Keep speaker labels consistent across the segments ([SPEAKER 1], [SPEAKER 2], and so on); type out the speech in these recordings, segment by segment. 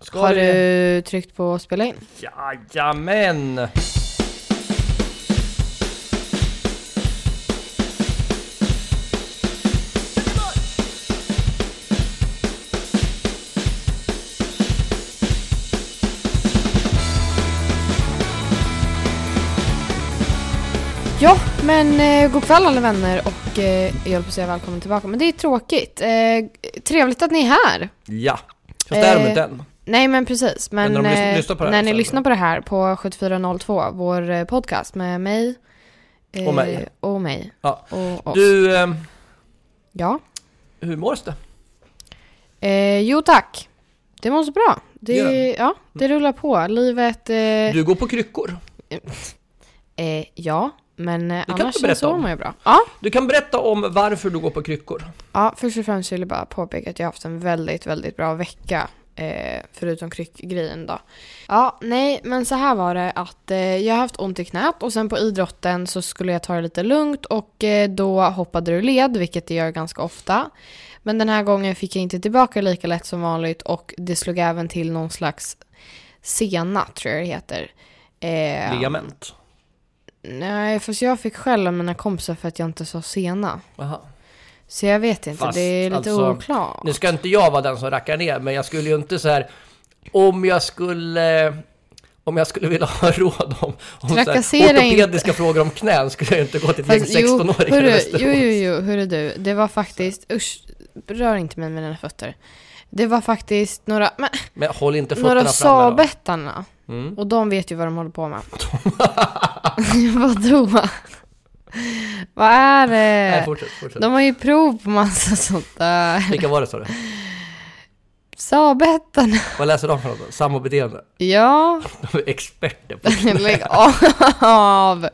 [SPEAKER 1] Ska
[SPEAKER 2] Har
[SPEAKER 1] det-
[SPEAKER 2] du tryckt på spela in?
[SPEAKER 1] Jajamän!
[SPEAKER 2] Ja, men eh, god kväll alla vänner och eh, jag höll på att säga välkommen tillbaka. Men det är tråkigt. Eh, trevligt att ni är här.
[SPEAKER 1] Ja, fast det är de
[SPEAKER 2] Eh,
[SPEAKER 1] inte än.
[SPEAKER 2] Nej men precis, men,
[SPEAKER 1] Men när de lys-
[SPEAKER 2] eh,
[SPEAKER 1] lyssnar på det här
[SPEAKER 2] när ni
[SPEAKER 1] sen då?
[SPEAKER 2] lyssnar på det här på 7402, vår eh, podcast med mig eh,
[SPEAKER 1] Och mig.
[SPEAKER 2] och mig
[SPEAKER 1] Ja.
[SPEAKER 2] och oss.
[SPEAKER 1] Du, eh,
[SPEAKER 2] Ja.
[SPEAKER 1] hur mår det?
[SPEAKER 2] Eh, jo tack, det mår så bra. Det,
[SPEAKER 1] Gör det?
[SPEAKER 2] ja, det rullar på. Livet, eh,
[SPEAKER 1] Du går på kryckor.
[SPEAKER 2] eh, ja, men eh,
[SPEAKER 1] kan
[SPEAKER 2] annars
[SPEAKER 1] du berätta
[SPEAKER 2] så
[SPEAKER 1] om.
[SPEAKER 2] mår jag bra. Ja.
[SPEAKER 1] Du kan berätta om varför du går på kryckor.
[SPEAKER 2] Ja, först och främst vill jag bara påpeka att jag har haft en väldigt, väldigt bra vecka. Eh, förutom kryckgrejen då. Ja, nej, men så här var det att eh, jag har haft ont i knät och sen på idrotten så skulle jag ta det lite lugnt och eh, då hoppade du led, vilket det gör ganska ofta. Men den här gången fick jag inte tillbaka lika lätt som vanligt och det slog även till någon slags sena, tror jag det heter. Eh,
[SPEAKER 1] Ligament.
[SPEAKER 2] nej, fast jag fick skäll av mina kompisar för att jag inte sa sena.
[SPEAKER 1] Aha.
[SPEAKER 2] Så jag vet inte,
[SPEAKER 1] Fast,
[SPEAKER 2] det är lite
[SPEAKER 1] alltså,
[SPEAKER 2] oklart.
[SPEAKER 1] Nu ska inte jag vara den som rackar ner, men jag skulle ju inte så här... Om jag skulle... Om jag skulle vilja ha råd om, om så här,
[SPEAKER 2] Trakassera
[SPEAKER 1] ortopediska frågor om knän skulle jag ju inte gå till en
[SPEAKER 2] Fast, jo,
[SPEAKER 1] 16-åring i
[SPEAKER 2] hörru,
[SPEAKER 1] Västerås.
[SPEAKER 2] jo, jo, jo, hörru du. Det var faktiskt, usch, rör inte mig med dina fötter. Det var faktiskt några, men,
[SPEAKER 1] Men håll inte fötterna
[SPEAKER 2] några Eh,
[SPEAKER 1] framme då.
[SPEAKER 2] Saabettarna.
[SPEAKER 1] Mm.
[SPEAKER 2] Och de vet ju vad de håller på med. Vadå? vad är
[SPEAKER 1] Nej,
[SPEAKER 2] det?
[SPEAKER 1] fortsätt, fortsätt.
[SPEAKER 2] De har ju prov på massa sånt där.
[SPEAKER 1] Vilka var det sa du?
[SPEAKER 2] Saabettarna.
[SPEAKER 1] Vad läser de för något? då? Sambobeteende?
[SPEAKER 2] Ja,
[SPEAKER 1] De är experter på
[SPEAKER 2] lägg av.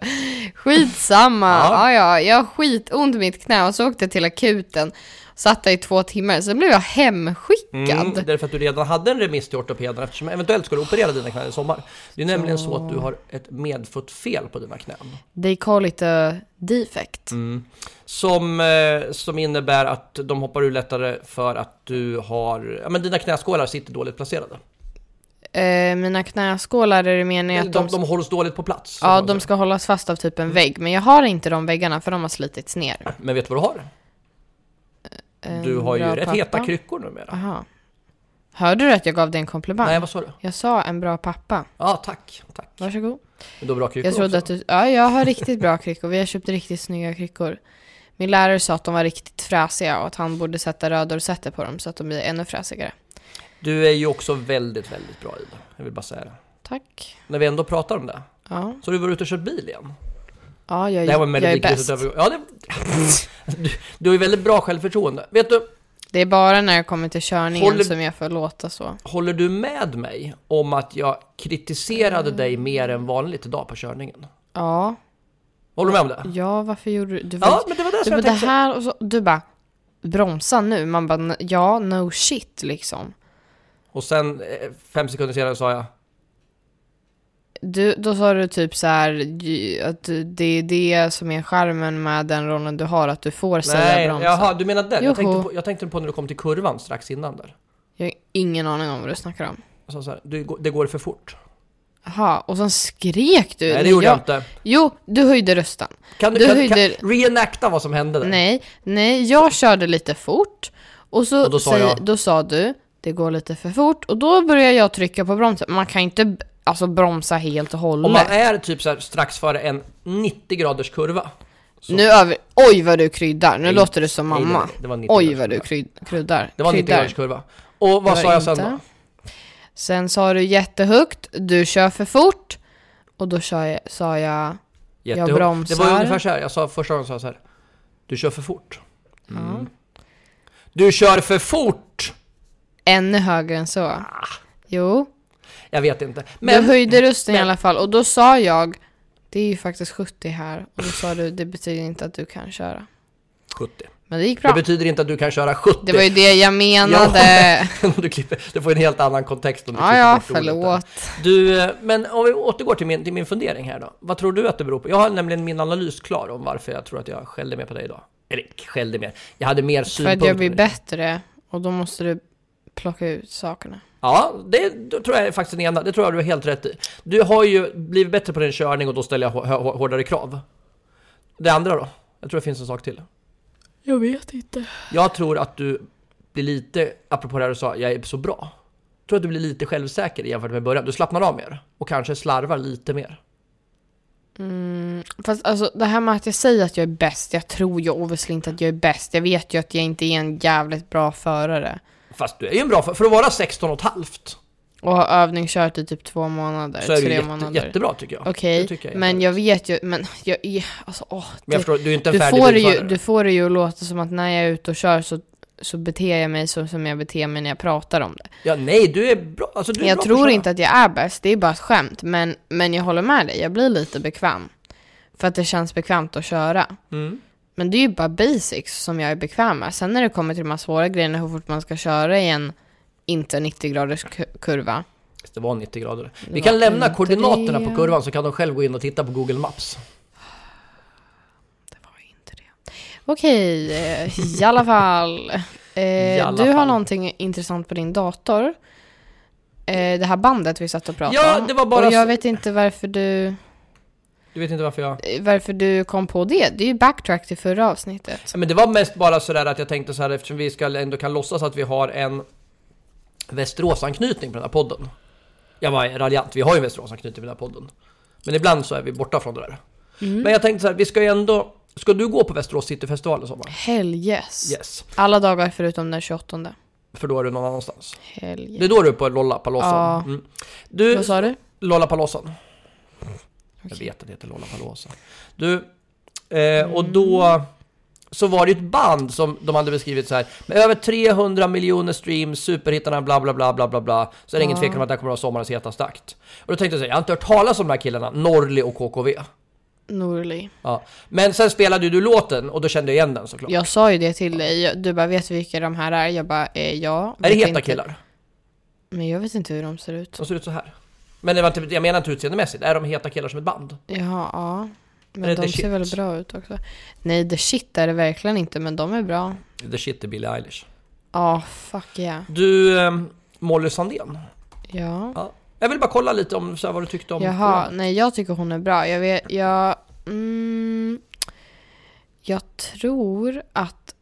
[SPEAKER 2] Skitsamma.
[SPEAKER 1] Ja.
[SPEAKER 2] Ja. Ja, Jag har skitont i mitt knä och så åkte jag till akuten. Satt där i två timmar, sen blev jag hemskickad.
[SPEAKER 1] Mm, därför att du redan hade en remiss till ortopeden eftersom eventuellt ska du operera dina knän i sommar. Det är nämligen så att du har ett medfött fel på dina knän. Mm.
[SPEAKER 2] They call it a defect.
[SPEAKER 1] Som, eh, som innebär att de hoppar ur lättare för att du har, ja men dina knäskålar sitter dåligt placerade.
[SPEAKER 2] Eh, mina knäskålar är det meningen
[SPEAKER 1] De,
[SPEAKER 2] att de,
[SPEAKER 1] de, Mm. hålls dåligt på plats. som
[SPEAKER 2] ja,
[SPEAKER 1] man
[SPEAKER 2] de
[SPEAKER 1] säger.
[SPEAKER 2] ska hållas fast av typ en vägg, men jag har inte de väggarna för de har slitits ner.
[SPEAKER 1] Men vet du vad du har?
[SPEAKER 2] En
[SPEAKER 1] Du har ju
[SPEAKER 2] bra
[SPEAKER 1] rätt
[SPEAKER 2] pappa.
[SPEAKER 1] heta kryckor numera.
[SPEAKER 2] Aha. Hörde du att jag gav dig en komplimang?
[SPEAKER 1] Nej, vad sa du?
[SPEAKER 2] Jag sa en bra pappa.
[SPEAKER 1] Ja, tack. Tack.
[SPEAKER 2] Varsågod.
[SPEAKER 1] Men du har bra kryckor
[SPEAKER 2] Jag trodde
[SPEAKER 1] också.
[SPEAKER 2] att du... Ja, jag har riktigt bra kryckor. Vi har köpt riktigt snygga kryckor. Min lärare sa att de var riktigt fräsiga och att han borde sätta rödorsetter på dem så att de blir ännu fräsigare.
[SPEAKER 1] Du är ju också väldigt, väldigt bra i det. Jag vill bara säga det.
[SPEAKER 2] Tack.
[SPEAKER 1] När vi ändå pratar om det.
[SPEAKER 2] Ja,
[SPEAKER 1] Så har du varit ute och kört bil igen?
[SPEAKER 2] ja jag,
[SPEAKER 1] Det här var en
[SPEAKER 2] jag är
[SPEAKER 1] melodikritisk
[SPEAKER 2] bäst.
[SPEAKER 1] övergång. Ja, det... du, du har ju väldigt bra självförtroende. Vet du,
[SPEAKER 2] Det är bara när det kommer till körningen
[SPEAKER 1] Håller-
[SPEAKER 2] som jag får låta så.
[SPEAKER 1] håller du med mig om att jag kritiserade dig mer än vanligt idag på körningen?
[SPEAKER 2] Ja,
[SPEAKER 1] Håller du med om det?
[SPEAKER 2] ja varför gjorde du... Du, var,
[SPEAKER 1] Ja, men det var det
[SPEAKER 2] du
[SPEAKER 1] som
[SPEAKER 2] bara,
[SPEAKER 1] jag
[SPEAKER 2] det
[SPEAKER 1] tänkte.
[SPEAKER 2] här och så, du bara bromsa nu. Man bara "N- ja, no shit liksom.
[SPEAKER 1] Och sen eh, fem sekunder senare sa jag,
[SPEAKER 2] Du, då sa du typ så här "J- att du- det är det som är charmen med den rollen du har, att du får
[SPEAKER 1] nej,
[SPEAKER 2] säga bromsa.
[SPEAKER 1] jaha, du menar den?
[SPEAKER 2] Joho.
[SPEAKER 1] Jag tänkte, på, jag tänkte på när du kom till kurvan strax innan där.
[SPEAKER 2] Jag har ingen aning om vad du snackar om.
[SPEAKER 1] Jag sa så här, du, det går för fort.
[SPEAKER 2] Jaha, och sen skrek du.
[SPEAKER 1] nej, det gjorde jag
[SPEAKER 2] jag,
[SPEAKER 1] inte.
[SPEAKER 2] Jo, du höjde rösten.
[SPEAKER 1] Kan du,
[SPEAKER 2] du
[SPEAKER 1] kan,
[SPEAKER 2] höjde-
[SPEAKER 1] kan reenacta vad som hände där?
[SPEAKER 2] Nej, nej, jag körde lite fort och så
[SPEAKER 1] Och då sa
[SPEAKER 2] säg-
[SPEAKER 1] jag-
[SPEAKER 2] då sa du det går lite för fort och då började jag trycka på bromsen. Man kan inte b- alltså bromsa helt och hållet.
[SPEAKER 1] Om man är typ så här strax före en 90 graders kurva. så-
[SPEAKER 2] Nu över... Oj vad du kryddar. Nu låter du som
[SPEAKER 1] Nej,
[SPEAKER 2] mamma.
[SPEAKER 1] nej, det var 90
[SPEAKER 2] Oj
[SPEAKER 1] graders
[SPEAKER 2] vad du
[SPEAKER 1] kurva.
[SPEAKER 2] kryd- kryddar.
[SPEAKER 1] Det var en 90
[SPEAKER 2] kryddar.
[SPEAKER 1] graders kurva. Och vad
[SPEAKER 2] Det
[SPEAKER 1] sa
[SPEAKER 2] var
[SPEAKER 1] jag sen
[SPEAKER 2] inte.
[SPEAKER 1] då?
[SPEAKER 2] Sen sa du jättehögt, du kör för fort och då sa jag, sa jag
[SPEAKER 1] Jättehårt.
[SPEAKER 2] Jag bromsar.
[SPEAKER 1] Det var ju ungefär så här. Jag sa första gången sa jag så här. Du kör för fort. Mm.
[SPEAKER 2] ja,
[SPEAKER 1] Du kör för fort!
[SPEAKER 2] ännu högre än så. Jo.
[SPEAKER 1] Jag vet inte.
[SPEAKER 2] Men,
[SPEAKER 1] Ah. Men
[SPEAKER 2] du höjde rösten i
[SPEAKER 1] men-
[SPEAKER 2] alla fall och då sa jag Det är ju faktiskt 70 här och då sa du det betyder inte att du kan köra.
[SPEAKER 1] 70.
[SPEAKER 2] Men det gick
[SPEAKER 1] Det
[SPEAKER 2] bra.
[SPEAKER 1] betyder inte att du kan köra 70.
[SPEAKER 2] Det var ju det jag menade.
[SPEAKER 1] Om du, klipper, du får en helt annan kontext om du
[SPEAKER 2] Ja,
[SPEAKER 1] klipper
[SPEAKER 2] ja,
[SPEAKER 1] bort ordet där.
[SPEAKER 2] förlåt.
[SPEAKER 1] Du, eh, men om vi återgår till min, till min fundering här då. Vad tror du att det beror på? Jag har nämligen min analys klar om varför jag tror att jag skällde mer på dig idag. Eller skällde mer. Jag hade mer
[SPEAKER 2] För
[SPEAKER 1] synpunkter.
[SPEAKER 2] att jag blir
[SPEAKER 1] på dig.
[SPEAKER 2] bättre och då måste du plocka ut sakerna.
[SPEAKER 1] Ja, det då tror jag är faktiskt den ena. Det tror jag du har helt rätt i. Du har ju blivit bättre på din körning och då ställer jag hå- hå- hårdare krav. Det andra då? Jag tror det finns en sak till.
[SPEAKER 2] Jag vet inte.
[SPEAKER 1] Jag tror att du blir lite, apropå det här du sa, jag är så bra. Jag tror att du blir lite självsäker jämfört med början. Du slappnar av mer och kanske slarvar lite mer.
[SPEAKER 2] Mm, fast alltså det här med att jag säger att jag är bäst, jag tror ju obviously inte att jag är bäst. Jag vet ju att jag inte är en jävligt bra förare.
[SPEAKER 1] Fast du är ju en bra, för, för att vara 16 och ett halvt
[SPEAKER 2] Och har övningskört i typ två månader,
[SPEAKER 1] så är du
[SPEAKER 2] tre
[SPEAKER 1] ju jätte,
[SPEAKER 2] månader.
[SPEAKER 1] jättebra tycker jag.
[SPEAKER 2] Okej,
[SPEAKER 1] Det tycker jag är
[SPEAKER 2] men
[SPEAKER 1] jättebra.
[SPEAKER 2] jag vet ju, men jag är, alltså åh.
[SPEAKER 1] Men jag
[SPEAKER 2] det-
[SPEAKER 1] förstår, du är ju inte en
[SPEAKER 2] du,
[SPEAKER 1] färdig
[SPEAKER 2] får det ju,
[SPEAKER 1] bilförare.
[SPEAKER 2] du får det ju att låta som att när jag är ute och kör så, så beter jag mig så som jag beter mig när jag pratar om det.
[SPEAKER 1] Ja, nej, du är bra. Alltså, du är
[SPEAKER 2] Jag
[SPEAKER 1] bra
[SPEAKER 2] tror
[SPEAKER 1] förare.
[SPEAKER 2] inte att jag är bäst, det är bara ett skämt. Men, men jag håller med dig, jag blir lite bekväm. För att det känns bekvämt att köra.
[SPEAKER 1] Mm.
[SPEAKER 2] Men det är ju bara basics som jag är bekväm med. Sen när det kommer till de här svåra grejerna, hur fort man ska köra i en inte 90 graders ku- kurva.
[SPEAKER 1] Det var 90 grader.
[SPEAKER 2] Det
[SPEAKER 1] Vi kan
[SPEAKER 2] var
[SPEAKER 1] lämna
[SPEAKER 2] inte
[SPEAKER 1] koordinaterna
[SPEAKER 2] det.
[SPEAKER 1] på kurvan så kan de själv gå in och titta på Google Maps.
[SPEAKER 2] Det var inte det. Okej, eh, i alla fall. Eh,
[SPEAKER 1] I alla
[SPEAKER 2] du har
[SPEAKER 1] fall.
[SPEAKER 2] någonting intressant på din dator. Eh, det här bandet vi satt och pratade
[SPEAKER 1] Ja,
[SPEAKER 2] om.
[SPEAKER 1] det var bara
[SPEAKER 2] Och jag
[SPEAKER 1] så-
[SPEAKER 2] vet inte varför du,
[SPEAKER 1] Du vet inte varför jag...
[SPEAKER 2] eh, varför du kom på det. Det är ju backtrack till förra avsnittet.
[SPEAKER 1] Ja, Men det var mest bara sådär att jag tänkte så här eftersom vi ska ändå kan låtsas att vi har en Västerås-anknytning på den här podden. Jag var raljant, vi har ju en Västerås-anknytning på den här podden. Men ibland så är vi borta från det
[SPEAKER 2] Mm.
[SPEAKER 1] där. Men jag tänkte så här, vi ska ju ändå... Ska du gå på Västerås Cityfestival i sommar?
[SPEAKER 2] Hell yes.
[SPEAKER 1] Yes.
[SPEAKER 2] Alla dagar förutom den 28.
[SPEAKER 1] För då är du någon annanstans.
[SPEAKER 2] Hell
[SPEAKER 1] Det är
[SPEAKER 2] yes.
[SPEAKER 1] då du är på Lollapalooza.
[SPEAKER 2] Ja.
[SPEAKER 1] Mm. Du,
[SPEAKER 2] Vad sa du?
[SPEAKER 1] Lollapalooza. Jag vet att det heter Lollapalooza. Du, eh, och då så var det ju ett band som de hade beskrivit så här med över 300 miljoner streams, superhittarna bla bla bla bla bla bla. Så är det ingen
[SPEAKER 2] Ja.
[SPEAKER 1] tvekan om att det här kommer att vara sommarens hetaste akt. Och då tänkte jag så här, jag har inte hört talas om de här killarna, Norli och KKV.
[SPEAKER 2] Norli.
[SPEAKER 1] Ja. Men sen spelade ju du låten och då kände jag igen den såklart.
[SPEAKER 2] Jag sa ju det till dig. Jag- Du bara, vet du vilka de här är? Jag bara, eh, ja.
[SPEAKER 1] är det
[SPEAKER 2] Vet
[SPEAKER 1] heta
[SPEAKER 2] inte.
[SPEAKER 1] killar?
[SPEAKER 2] Men jag vet inte hur de ser ut.
[SPEAKER 1] De ser ut så här. Men det var inte, jag menar inte utseendemässigt, är de heta killar som ett band?
[SPEAKER 2] Jaha, ja. Men
[SPEAKER 1] Eller
[SPEAKER 2] de
[SPEAKER 1] The
[SPEAKER 2] ser
[SPEAKER 1] Shit.
[SPEAKER 2] väl bra ut också. Nej, the shit är det verkligen inte, men de är bra.
[SPEAKER 1] The shit är Billie Eilish.
[SPEAKER 2] Ja, fuck yeah.
[SPEAKER 1] Du, eh, Molly Sandén.
[SPEAKER 2] Ja.
[SPEAKER 1] Ja. Jag vill bara kolla lite om så här, vad du tyckte om
[SPEAKER 2] Jaha, nej jag tycker hon är bra. Jag vet, jag... Mm, jag tror att...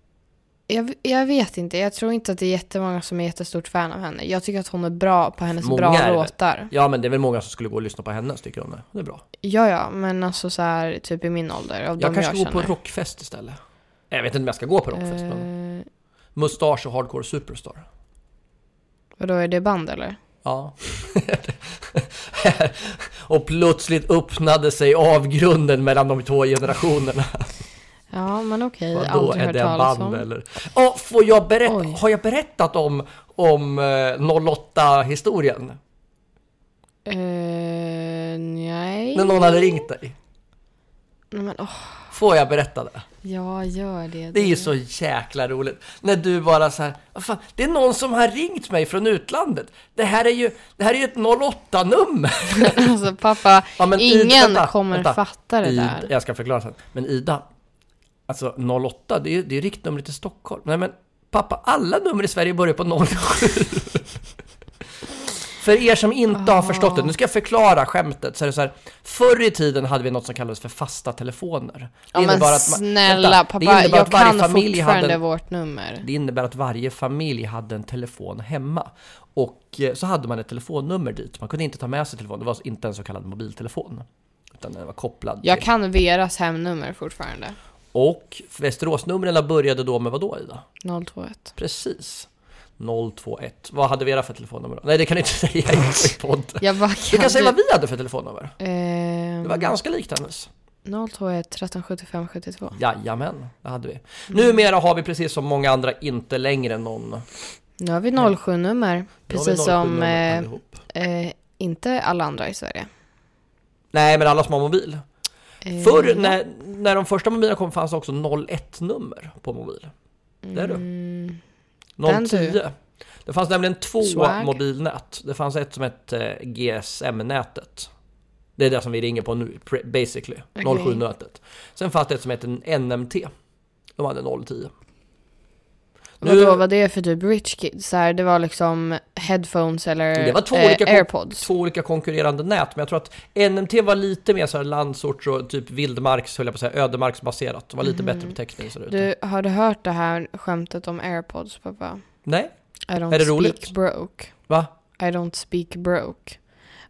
[SPEAKER 2] Jag, jag vet inte, jag tror inte att det är jättemånga som är jättestort fan av henne. Jag tycker att hon är bra på hennes
[SPEAKER 1] Många är
[SPEAKER 2] bra
[SPEAKER 1] det.
[SPEAKER 2] låtar.
[SPEAKER 1] Ja men det är väl många som skulle gå och lyssna på hennes tycker hon är. Det är bra.
[SPEAKER 2] Ja, ja, men alltså så här, typ i min ålder, av
[SPEAKER 1] Jag
[SPEAKER 2] de
[SPEAKER 1] kanske
[SPEAKER 2] jag
[SPEAKER 1] går på
[SPEAKER 2] känner.
[SPEAKER 1] rockfest istället. Jag vet inte om jag ska gå på rockfest men
[SPEAKER 2] Eh,
[SPEAKER 1] Mustasch och Hardcore Superstar.
[SPEAKER 2] vadå, är det band eller?
[SPEAKER 1] Ja. och plötsligt öppnade sig avgrunden mellan de två generationerna.
[SPEAKER 2] Ja, men okej.
[SPEAKER 1] Vadå,
[SPEAKER 2] Aldrig
[SPEAKER 1] är
[SPEAKER 2] hört
[SPEAKER 1] det en
[SPEAKER 2] talas
[SPEAKER 1] band
[SPEAKER 2] om.
[SPEAKER 1] eller? Ja, får jag
[SPEAKER 2] Oj.
[SPEAKER 1] berätta? Har jag berättat om, om eh, 08-historien?
[SPEAKER 2] Eh, nej.
[SPEAKER 1] När någon hade ringt dig?
[SPEAKER 2] Nej, men åh,
[SPEAKER 1] Får jag berätta det?
[SPEAKER 2] ja, gör det.
[SPEAKER 1] Det är ju så jäkla roligt. När du bara så här, "Vad fan, det är någon som har ringt mig från utlandet. Det här är ju, det här är ju ett 08-nummer.
[SPEAKER 2] alltså, pappa,
[SPEAKER 1] Ja, men Ida-
[SPEAKER 2] ingen
[SPEAKER 1] vänta,
[SPEAKER 2] kommer
[SPEAKER 1] vänta.
[SPEAKER 2] fatta det
[SPEAKER 1] Ida-
[SPEAKER 2] där.
[SPEAKER 1] Jag ska förklara sen. Men Ida, alltså 08, det är ju det är riktnumret till Stockholm. Nej men pappa, alla nummer i Sverige börjar på 07. För er som inte
[SPEAKER 2] Ah.
[SPEAKER 1] har förstått det, nu ska jag förklara skämtet. Så är det så här, förr i tiden hade vi något som kallades för fasta telefoner. Det
[SPEAKER 2] Ja, men
[SPEAKER 1] innebar att man-
[SPEAKER 2] snälla
[SPEAKER 1] vänta, det
[SPEAKER 2] pappa,
[SPEAKER 1] innebar
[SPEAKER 2] jag
[SPEAKER 1] att varje
[SPEAKER 2] kan
[SPEAKER 1] familj hade en-
[SPEAKER 2] fortfarande vårt nummer.
[SPEAKER 1] det innebär att varje familj hade en telefon hemma. Och eh, så hade man ett telefonnummer dit. Man kunde inte ta med sig telefonen. Det var inte en så kallad mobiltelefon. Utan den var kopplad
[SPEAKER 2] Jag
[SPEAKER 1] till.
[SPEAKER 2] kan Veras hemnummer fortfarande.
[SPEAKER 1] Och Västeråsnumren började då med vad då Ida?
[SPEAKER 2] 021.
[SPEAKER 1] Precis. 021. Vad hade Vera för telefonnummer då? Nej, det kan du inte säga i podden.
[SPEAKER 2] Jag bara
[SPEAKER 1] Du kan säga vad
[SPEAKER 2] du-
[SPEAKER 1] vi hade för telefonnummer. Det var
[SPEAKER 2] Ehm,
[SPEAKER 1] ganska likt hennes.
[SPEAKER 2] 021 13 75 72.
[SPEAKER 1] Jajamän, det hade vi. Numera har vi precis som många andra inte längre någon... Nu har
[SPEAKER 2] Nu har vi 07-nummer,
[SPEAKER 1] vi
[SPEAKER 2] precis
[SPEAKER 1] 07
[SPEAKER 2] som
[SPEAKER 1] nummer
[SPEAKER 2] eh,
[SPEAKER 1] allihop.
[SPEAKER 2] eh, inte alla andra i Sverige.
[SPEAKER 1] Nej, men alla som har mobil.
[SPEAKER 2] Eh,
[SPEAKER 1] Förr
[SPEAKER 2] ja.
[SPEAKER 1] när, när de första mobilerna kom fanns det också 01-nummer på mobil. Det är du.
[SPEAKER 2] Mm, den du.
[SPEAKER 1] 010. Det fanns nämligen två
[SPEAKER 2] Swag.
[SPEAKER 1] mobilnät. Det fanns ett som hette eh, GSM-nätet. Det är det som vi ringer på nu, pre- basically.
[SPEAKER 2] Okej.
[SPEAKER 1] 07-nätet. Sen fanns det ett som hette NMT. De hade 010. Nu-
[SPEAKER 2] Vadå, vad det är för typ rich kids? Så här, det var liksom headphones eller
[SPEAKER 1] Det var två
[SPEAKER 2] eh,
[SPEAKER 1] olika kon-
[SPEAKER 2] airpods.
[SPEAKER 1] två olika konkurrerande nät, men jag tror att NMT var lite mer så här landsorts och typ vildmarks, höll jag på att säga, ödemarksbaserat. Det var lite
[SPEAKER 2] Mhm.
[SPEAKER 1] bättre beteckning ser det ut.
[SPEAKER 2] Du, har du hört det här skämtet om airpods pappa?
[SPEAKER 1] Nej?
[SPEAKER 2] I don't
[SPEAKER 1] Är det
[SPEAKER 2] speak
[SPEAKER 1] roligt?
[SPEAKER 2] broke.
[SPEAKER 1] Va?
[SPEAKER 2] I don't speak broke.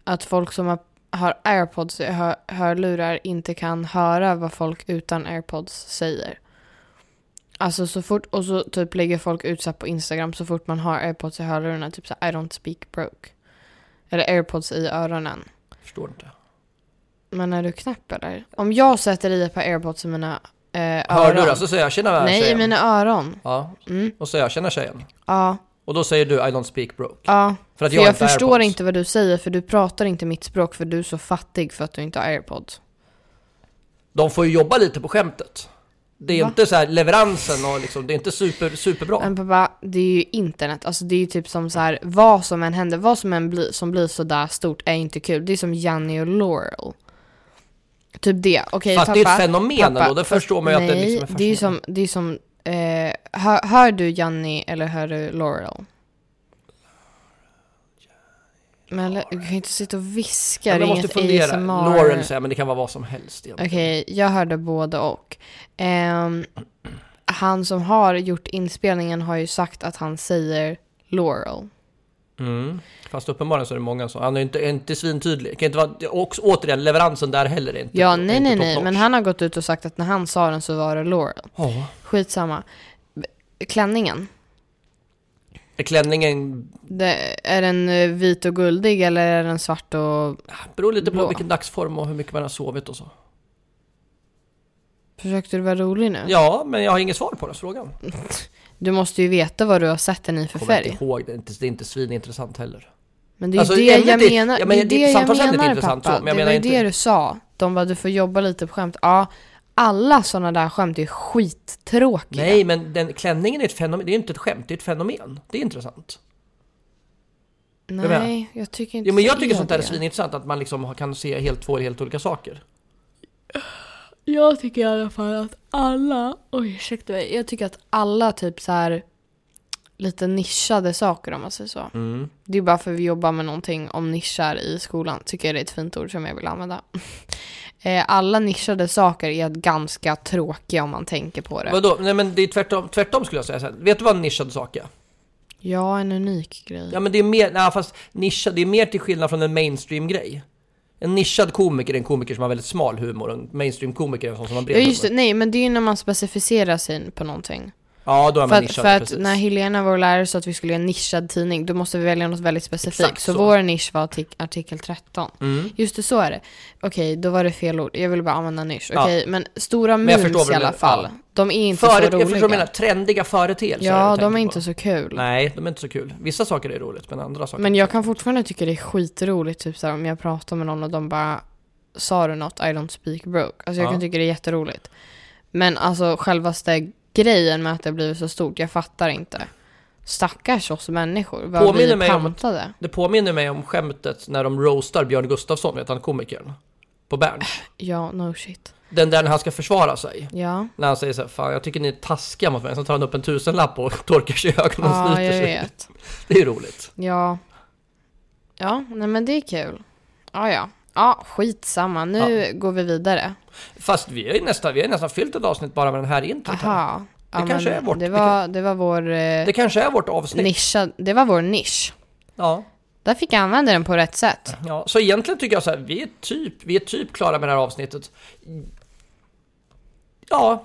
[SPEAKER 2] Att folk som har, har airpods, hör, hörlurar, inte kan höra vad folk utan airpods säger. Alltså så fort, och så typ lägger folk ut så här på Instagram så fort man har airpods i hörlurarna, typ så här, I don't speak broke. Eller airpods i öronen.
[SPEAKER 1] Förstår inte.
[SPEAKER 2] Men är du knäpp eller? Om jag sätter i ett par airpods i mina eh,
[SPEAKER 1] Hör du
[SPEAKER 2] öron.
[SPEAKER 1] det? Så säger jag tjena
[SPEAKER 2] Nej, i
[SPEAKER 1] tjejen.
[SPEAKER 2] mina öron.
[SPEAKER 1] Ja,
[SPEAKER 2] Mm.
[SPEAKER 1] och säger jag känner tjejen.
[SPEAKER 2] Ja,
[SPEAKER 1] Och då säger du I don't speak broke.
[SPEAKER 2] ja.
[SPEAKER 1] För att
[SPEAKER 2] För jag,
[SPEAKER 1] har inte har
[SPEAKER 2] förstår
[SPEAKER 1] airpods.
[SPEAKER 2] inte vad du säger för du pratar inte mitt språk för du är så fattig för att du inte har airpods.
[SPEAKER 1] De får ju jobba lite på skämtet. Det är
[SPEAKER 2] Va?
[SPEAKER 1] inte så här leveransen och liksom, det är inte super, superbra.
[SPEAKER 2] Men pappa, det är ju internet. Alltså det är ju typ som så här, vad som än händer, vad som än blir, som blir sådär stort är inte kul. Det är som Janni och Laurel. Typ det. Okej
[SPEAKER 1] Fast
[SPEAKER 2] pappa.
[SPEAKER 1] det är ett fenomen ändå, då
[SPEAKER 2] fast-
[SPEAKER 1] förstår man ju att det liksom är
[SPEAKER 2] Nej, det är ju som,
[SPEAKER 1] fascinerande.
[SPEAKER 2] det är som eh, hör, hör du Janni eller hör du Laurel? Men eller- du kan ju inte sitta och viska,
[SPEAKER 1] Men
[SPEAKER 2] det
[SPEAKER 1] jag
[SPEAKER 2] är
[SPEAKER 1] måste
[SPEAKER 2] inget
[SPEAKER 1] fundera.
[SPEAKER 2] ASMR.
[SPEAKER 1] Laurel säger men det kan vara vad som helst egentligen.
[SPEAKER 2] Okej, jag hörde både och. Ehm, han som har gjort inspelningen har ju sagt att han säger Laurel.
[SPEAKER 1] Mm. Fast uppenbarligen så är det många som, han är inte, inte svintydlig. Kan inte vara, och återigen, leveransen där heller är inte
[SPEAKER 2] Ja,
[SPEAKER 1] är
[SPEAKER 2] nej,
[SPEAKER 1] inte
[SPEAKER 2] nej,
[SPEAKER 1] top
[SPEAKER 2] nej,
[SPEAKER 1] notch.
[SPEAKER 2] men han har gått ut och sagt att när han sa den så var det Laurel.
[SPEAKER 1] Ja.
[SPEAKER 2] Skitsamma. B- Klänningen,
[SPEAKER 1] Är klänningen,
[SPEAKER 2] det, är den eh, vit och guldig eller är den svart och...
[SPEAKER 1] beror lite på
[SPEAKER 2] Blå.
[SPEAKER 1] vilken dagsform och hur mycket man har sovit och så.
[SPEAKER 2] Försökte du vara rolig nu?
[SPEAKER 1] Ja, men jag har inget svar på den frågan.
[SPEAKER 2] Du måste ju veta vad du har sett den i för
[SPEAKER 1] Kommer inte
[SPEAKER 2] färg.
[SPEAKER 1] ihåg, det är inte, det är inte svinintressant heller.
[SPEAKER 2] Men det är ju
[SPEAKER 1] Alltså,
[SPEAKER 2] det jag
[SPEAKER 1] ämnet är-
[SPEAKER 2] menar,
[SPEAKER 1] ja, men
[SPEAKER 2] det är
[SPEAKER 1] det-
[SPEAKER 2] det jag
[SPEAKER 1] samtalsämnet är
[SPEAKER 2] menar
[SPEAKER 1] intressant så,
[SPEAKER 2] pappa.
[SPEAKER 1] men jag
[SPEAKER 2] det
[SPEAKER 1] menar
[SPEAKER 2] var ju
[SPEAKER 1] inte-
[SPEAKER 2] det du sa. De bara, du får jobba lite på skämt. Ja, alla sådana där skämt är ju skittråkiga.
[SPEAKER 1] Nej, men den klänningen är ett fenomen, det är inte ett skämt, det är ett fenomen. Det är intressant.
[SPEAKER 2] Nej,
[SPEAKER 1] Jag
[SPEAKER 2] jag, tycker inte
[SPEAKER 1] Ja, men jag
[SPEAKER 2] så
[SPEAKER 1] tycker sånt där är
[SPEAKER 2] det.
[SPEAKER 1] svinintressant, att man liksom har- kan se helt två helt olika saker.
[SPEAKER 2] Jag tycker i alla fall att alla, oj ursäkta mig, jag tycker att alla typ så här lite nischade saker om man säger så.
[SPEAKER 1] Mm.
[SPEAKER 2] Det är bara för att vi jobbar med någonting om nischar i skolan. Tycker jag det är ett fint ord som jag vill använda. Eh, Alla nischade saker är ganska tråkiga om man tänker på det.
[SPEAKER 1] Vadå? Nej, men det är tvärtom, tvärtom skulle jag säga. Så här, Vet du vad en nischad sak är?
[SPEAKER 2] Ja, en unik grej.
[SPEAKER 1] Ja, men det är mer, nej, fast nischad, det är mer till skillnad från en mainstream-grej. En nischad komiker är en komiker som har väldigt smal humor, och en mainstream-komiker är en sån som har bred
[SPEAKER 2] Ja just det,
[SPEAKER 1] humor.
[SPEAKER 2] nej men det är ju när man specificerar sig på någonting.
[SPEAKER 1] Ja, då är
[SPEAKER 2] för
[SPEAKER 1] man
[SPEAKER 2] att,
[SPEAKER 1] nischad,
[SPEAKER 2] för att
[SPEAKER 1] precis.
[SPEAKER 2] när Helena, vår lärare, sa att vi skulle göra en nischad tidning, då måste vi välja något väldigt specifikt.
[SPEAKER 1] Exakt
[SPEAKER 2] så,
[SPEAKER 1] så.
[SPEAKER 2] vår nisch var artik- artikel 13.
[SPEAKER 1] Mm.
[SPEAKER 2] Just det, så är det. Okej, då var det fel ord. Jag ville bara använda nisch.
[SPEAKER 1] Ja.
[SPEAKER 2] Okej, men stora
[SPEAKER 1] Men jag förstår vad
[SPEAKER 2] memes i
[SPEAKER 1] du
[SPEAKER 2] alla
[SPEAKER 1] menar.
[SPEAKER 2] fall. De är inte
[SPEAKER 1] Före, jag
[SPEAKER 2] så
[SPEAKER 1] förstår vad
[SPEAKER 2] roliga.
[SPEAKER 1] du menar, trendiga företeelser. är det
[SPEAKER 2] ja,
[SPEAKER 1] jag
[SPEAKER 2] de är
[SPEAKER 1] tänker
[SPEAKER 2] inte
[SPEAKER 1] på.
[SPEAKER 2] så kul.
[SPEAKER 1] Nej, de är inte så kul. Vissa saker är roligt, men andra saker...
[SPEAKER 2] typ. Men jag kan fortfarande tycka det är skitroligt typ såhär, om jag pratar med någon och de bara Sa du något? I don't speak broke. Alltså jag
[SPEAKER 1] Ja.
[SPEAKER 2] kan tycka det är jätteroligt. Men alltså självaste grejen med att det har blivit så stort, jag fattar inte. Stackars oss människor, vad
[SPEAKER 1] Påminner
[SPEAKER 2] vi
[SPEAKER 1] mig om-
[SPEAKER 2] pantade.
[SPEAKER 1] Det påminner mig om skämtet när de roastar Björn Gustafsson, vet han komikern? På Bern.
[SPEAKER 2] Ja, no shit.
[SPEAKER 1] Den där när han ska försvara sig.
[SPEAKER 2] Ja,
[SPEAKER 1] När han säger så här, fan jag tycker ni är taskiga mot mig. Sen tar han upp en tusenlapp och torkar sig i ögonen och
[SPEAKER 2] ja
[SPEAKER 1] snyter
[SPEAKER 2] jag
[SPEAKER 1] sig.
[SPEAKER 2] vet.
[SPEAKER 1] Det är ju roligt.
[SPEAKER 2] Ja. Ja, nej men det är kul. Ja, ja. Ja, skitsamma. Nu går vi vidare.
[SPEAKER 1] Fast vi har ju nästan, vi har ju nästan fyllt ett avsnitt bara med den här introt. här.
[SPEAKER 2] Aha. Ja,
[SPEAKER 1] Det kanske
[SPEAKER 2] men
[SPEAKER 1] är vårt-
[SPEAKER 2] Det
[SPEAKER 1] det
[SPEAKER 2] var, det var vår eh,
[SPEAKER 1] Det kanske är vårt avsnitt.
[SPEAKER 2] nischad... Det var vår nisch.
[SPEAKER 1] Ja.
[SPEAKER 2] Där fick jag använda den på rätt sätt.
[SPEAKER 1] ja. Så egentligen tycker jag så här, vi är typ, vi är typ klara med det här avsnittet. Ja,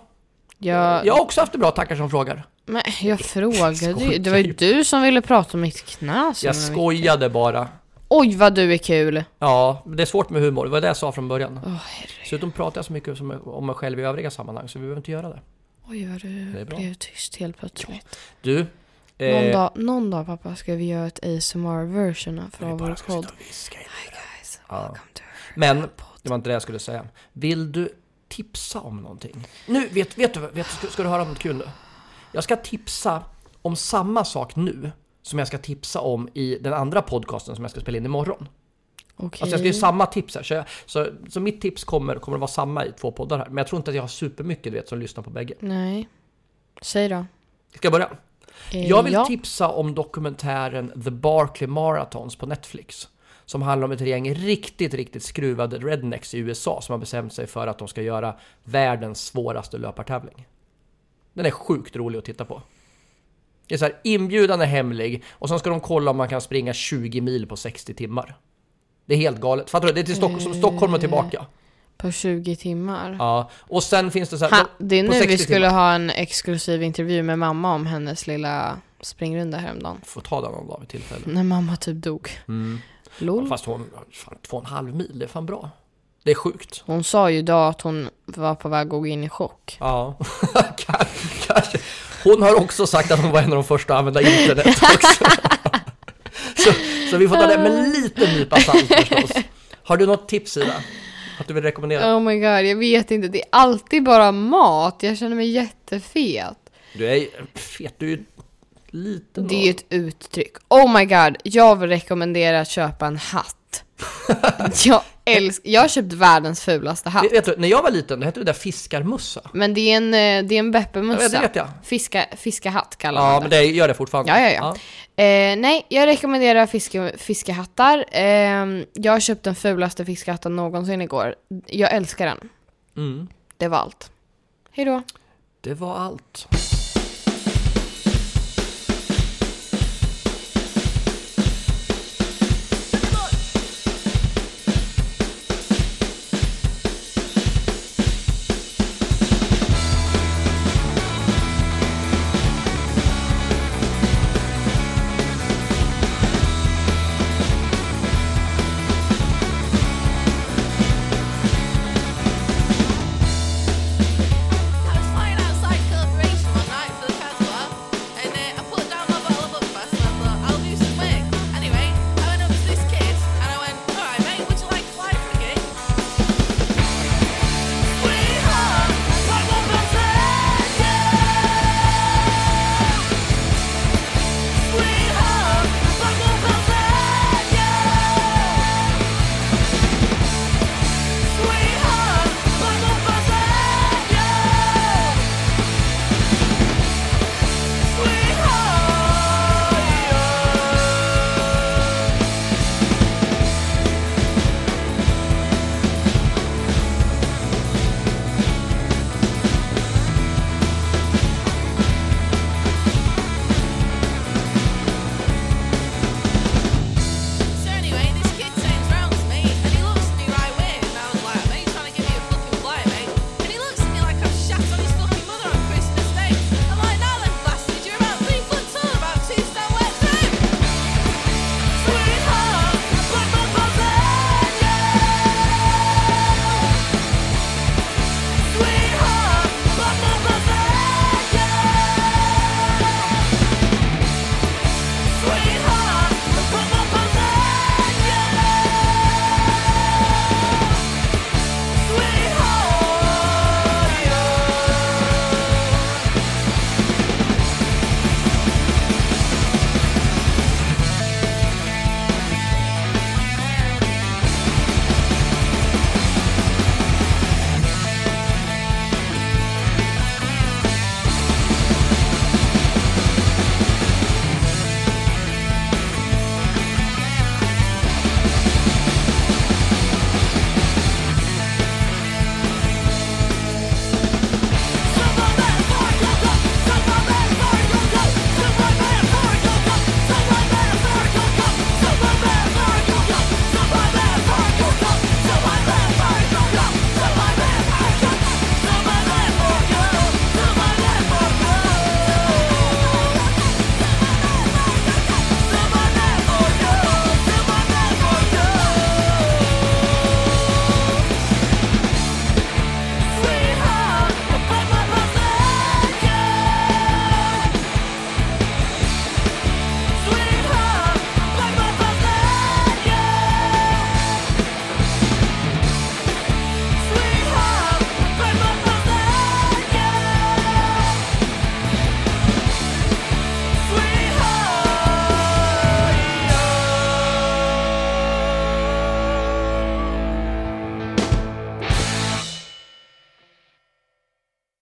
[SPEAKER 2] Jag,
[SPEAKER 1] jag har också haft det bra, tackar som frågar.
[SPEAKER 2] men jag frågade ju.
[SPEAKER 1] Skojar
[SPEAKER 2] Det var ju
[SPEAKER 1] ju.
[SPEAKER 2] du som ville prata om mitt knas.
[SPEAKER 1] Jag skojade bara.
[SPEAKER 2] Oj vad du är kul!
[SPEAKER 1] Ja, det är svårt med humor, det var det jag sa från början.
[SPEAKER 2] Åh herregud.
[SPEAKER 1] Dessutom pratar jag så mycket som- om mig själv i övriga sammanhang så vi behöver inte göra det.
[SPEAKER 2] Oj vad du
[SPEAKER 1] Det är bra.
[SPEAKER 2] blev tyst helt plötsligt.
[SPEAKER 1] Du,
[SPEAKER 2] Någon,
[SPEAKER 1] eh,
[SPEAKER 2] dag, någon dag pappa ska vi göra ett ASMR-version av
[SPEAKER 1] det är bara
[SPEAKER 2] vår
[SPEAKER 1] jag ska
[SPEAKER 2] podd.
[SPEAKER 1] sitta och viska i
[SPEAKER 2] Hi guys,
[SPEAKER 1] Ja.
[SPEAKER 2] welcome to our
[SPEAKER 1] Men-
[SPEAKER 2] podd.
[SPEAKER 1] Det var inte det jag skulle säga. Vill du tipsa om någonting? Nu, vet, vet du, vet, du- ska, ska du höra om något kul nu? Jag ska tipsa om samma sak nu som jag ska tipsa om i den andra podcasten som jag ska spela in imorgon.
[SPEAKER 2] Okej.
[SPEAKER 1] Alltså jag ska ju samma tips här. Så, jag, så, så mitt tips kommer, kommer att vara samma i två poddar här. Men jag tror inte att jag har supermycket du vet som lyssnar på bägge.
[SPEAKER 2] Nej. Säg då.
[SPEAKER 1] Ska jag börja?
[SPEAKER 2] Eh,
[SPEAKER 1] Jag vill
[SPEAKER 2] ja.
[SPEAKER 1] tipsa om dokumentären The Barkley Marathons på Netflix. Som handlar om ett gäng riktigt, riktigt skruvade rednecks i USA som har bestämt sig för att de ska göra världens svåraste löpartävling. Den är sjukt rolig att titta på. Det är så här, inbjudan är hemlig och sen ska de kolla om man kan springa 20 mil på 60 timmar. Det är helt galet. Fattar du? Det är till Stock- som Stockholm och tillbaka.
[SPEAKER 2] Eh. På 20 timmar.
[SPEAKER 1] Ja. Och sen finns det så här...
[SPEAKER 2] Ha, det är
[SPEAKER 1] på
[SPEAKER 2] nu vi
[SPEAKER 1] 60
[SPEAKER 2] skulle
[SPEAKER 1] timmar.
[SPEAKER 2] ha en exklusiv intervju med mamma om hennes lilla springrunda häromdagen.
[SPEAKER 1] Får ta den någon dag vid tillfälle. Mm.
[SPEAKER 2] När mamma typ dog. Lol.
[SPEAKER 1] Fast hon, fan, två och en halv mil, det är fan bra. Det är sjukt.
[SPEAKER 2] Hon sa ju idag att hon var på väg att gå in i chock.
[SPEAKER 1] Ja, Kanske- kanske. Hon har också sagt att hon var en av de första att använda internet också. så, så vi får ta det med en liten nypa salt förstås. Har du något tips Ida? Att du vill rekommendera?
[SPEAKER 2] Oh my god, jag vet inte. Det är alltid bara mat. Jag känner mig jättefet.
[SPEAKER 1] Du är ju fet, du är ju liten.
[SPEAKER 2] Det är ju ett uttryck. Oh my god, jag vill rekommendera att köpa en hatt. jag älskar, jag har köpt världens fulaste hatt.
[SPEAKER 1] Vet- Vet du, när jag var liten, det hette det där fiskarmussa.
[SPEAKER 2] Men det är en, eh, det är en
[SPEAKER 1] Ja, det
[SPEAKER 2] Beppe-mössa.
[SPEAKER 1] vet jag.
[SPEAKER 2] Fiska, fiskahatt kallar
[SPEAKER 1] Ja,
[SPEAKER 2] man
[SPEAKER 1] men
[SPEAKER 2] det.
[SPEAKER 1] det gör det fortfarande.
[SPEAKER 2] Ja, ja, ja. Eh, nej, jag rekommenderar fiske, fiskehattar. Eh, jag köpte den fulaste fiskehatten någonsin igår. Jag älskar den.
[SPEAKER 1] Mm.
[SPEAKER 2] Det var allt. Hejdå.
[SPEAKER 1] Det var allt.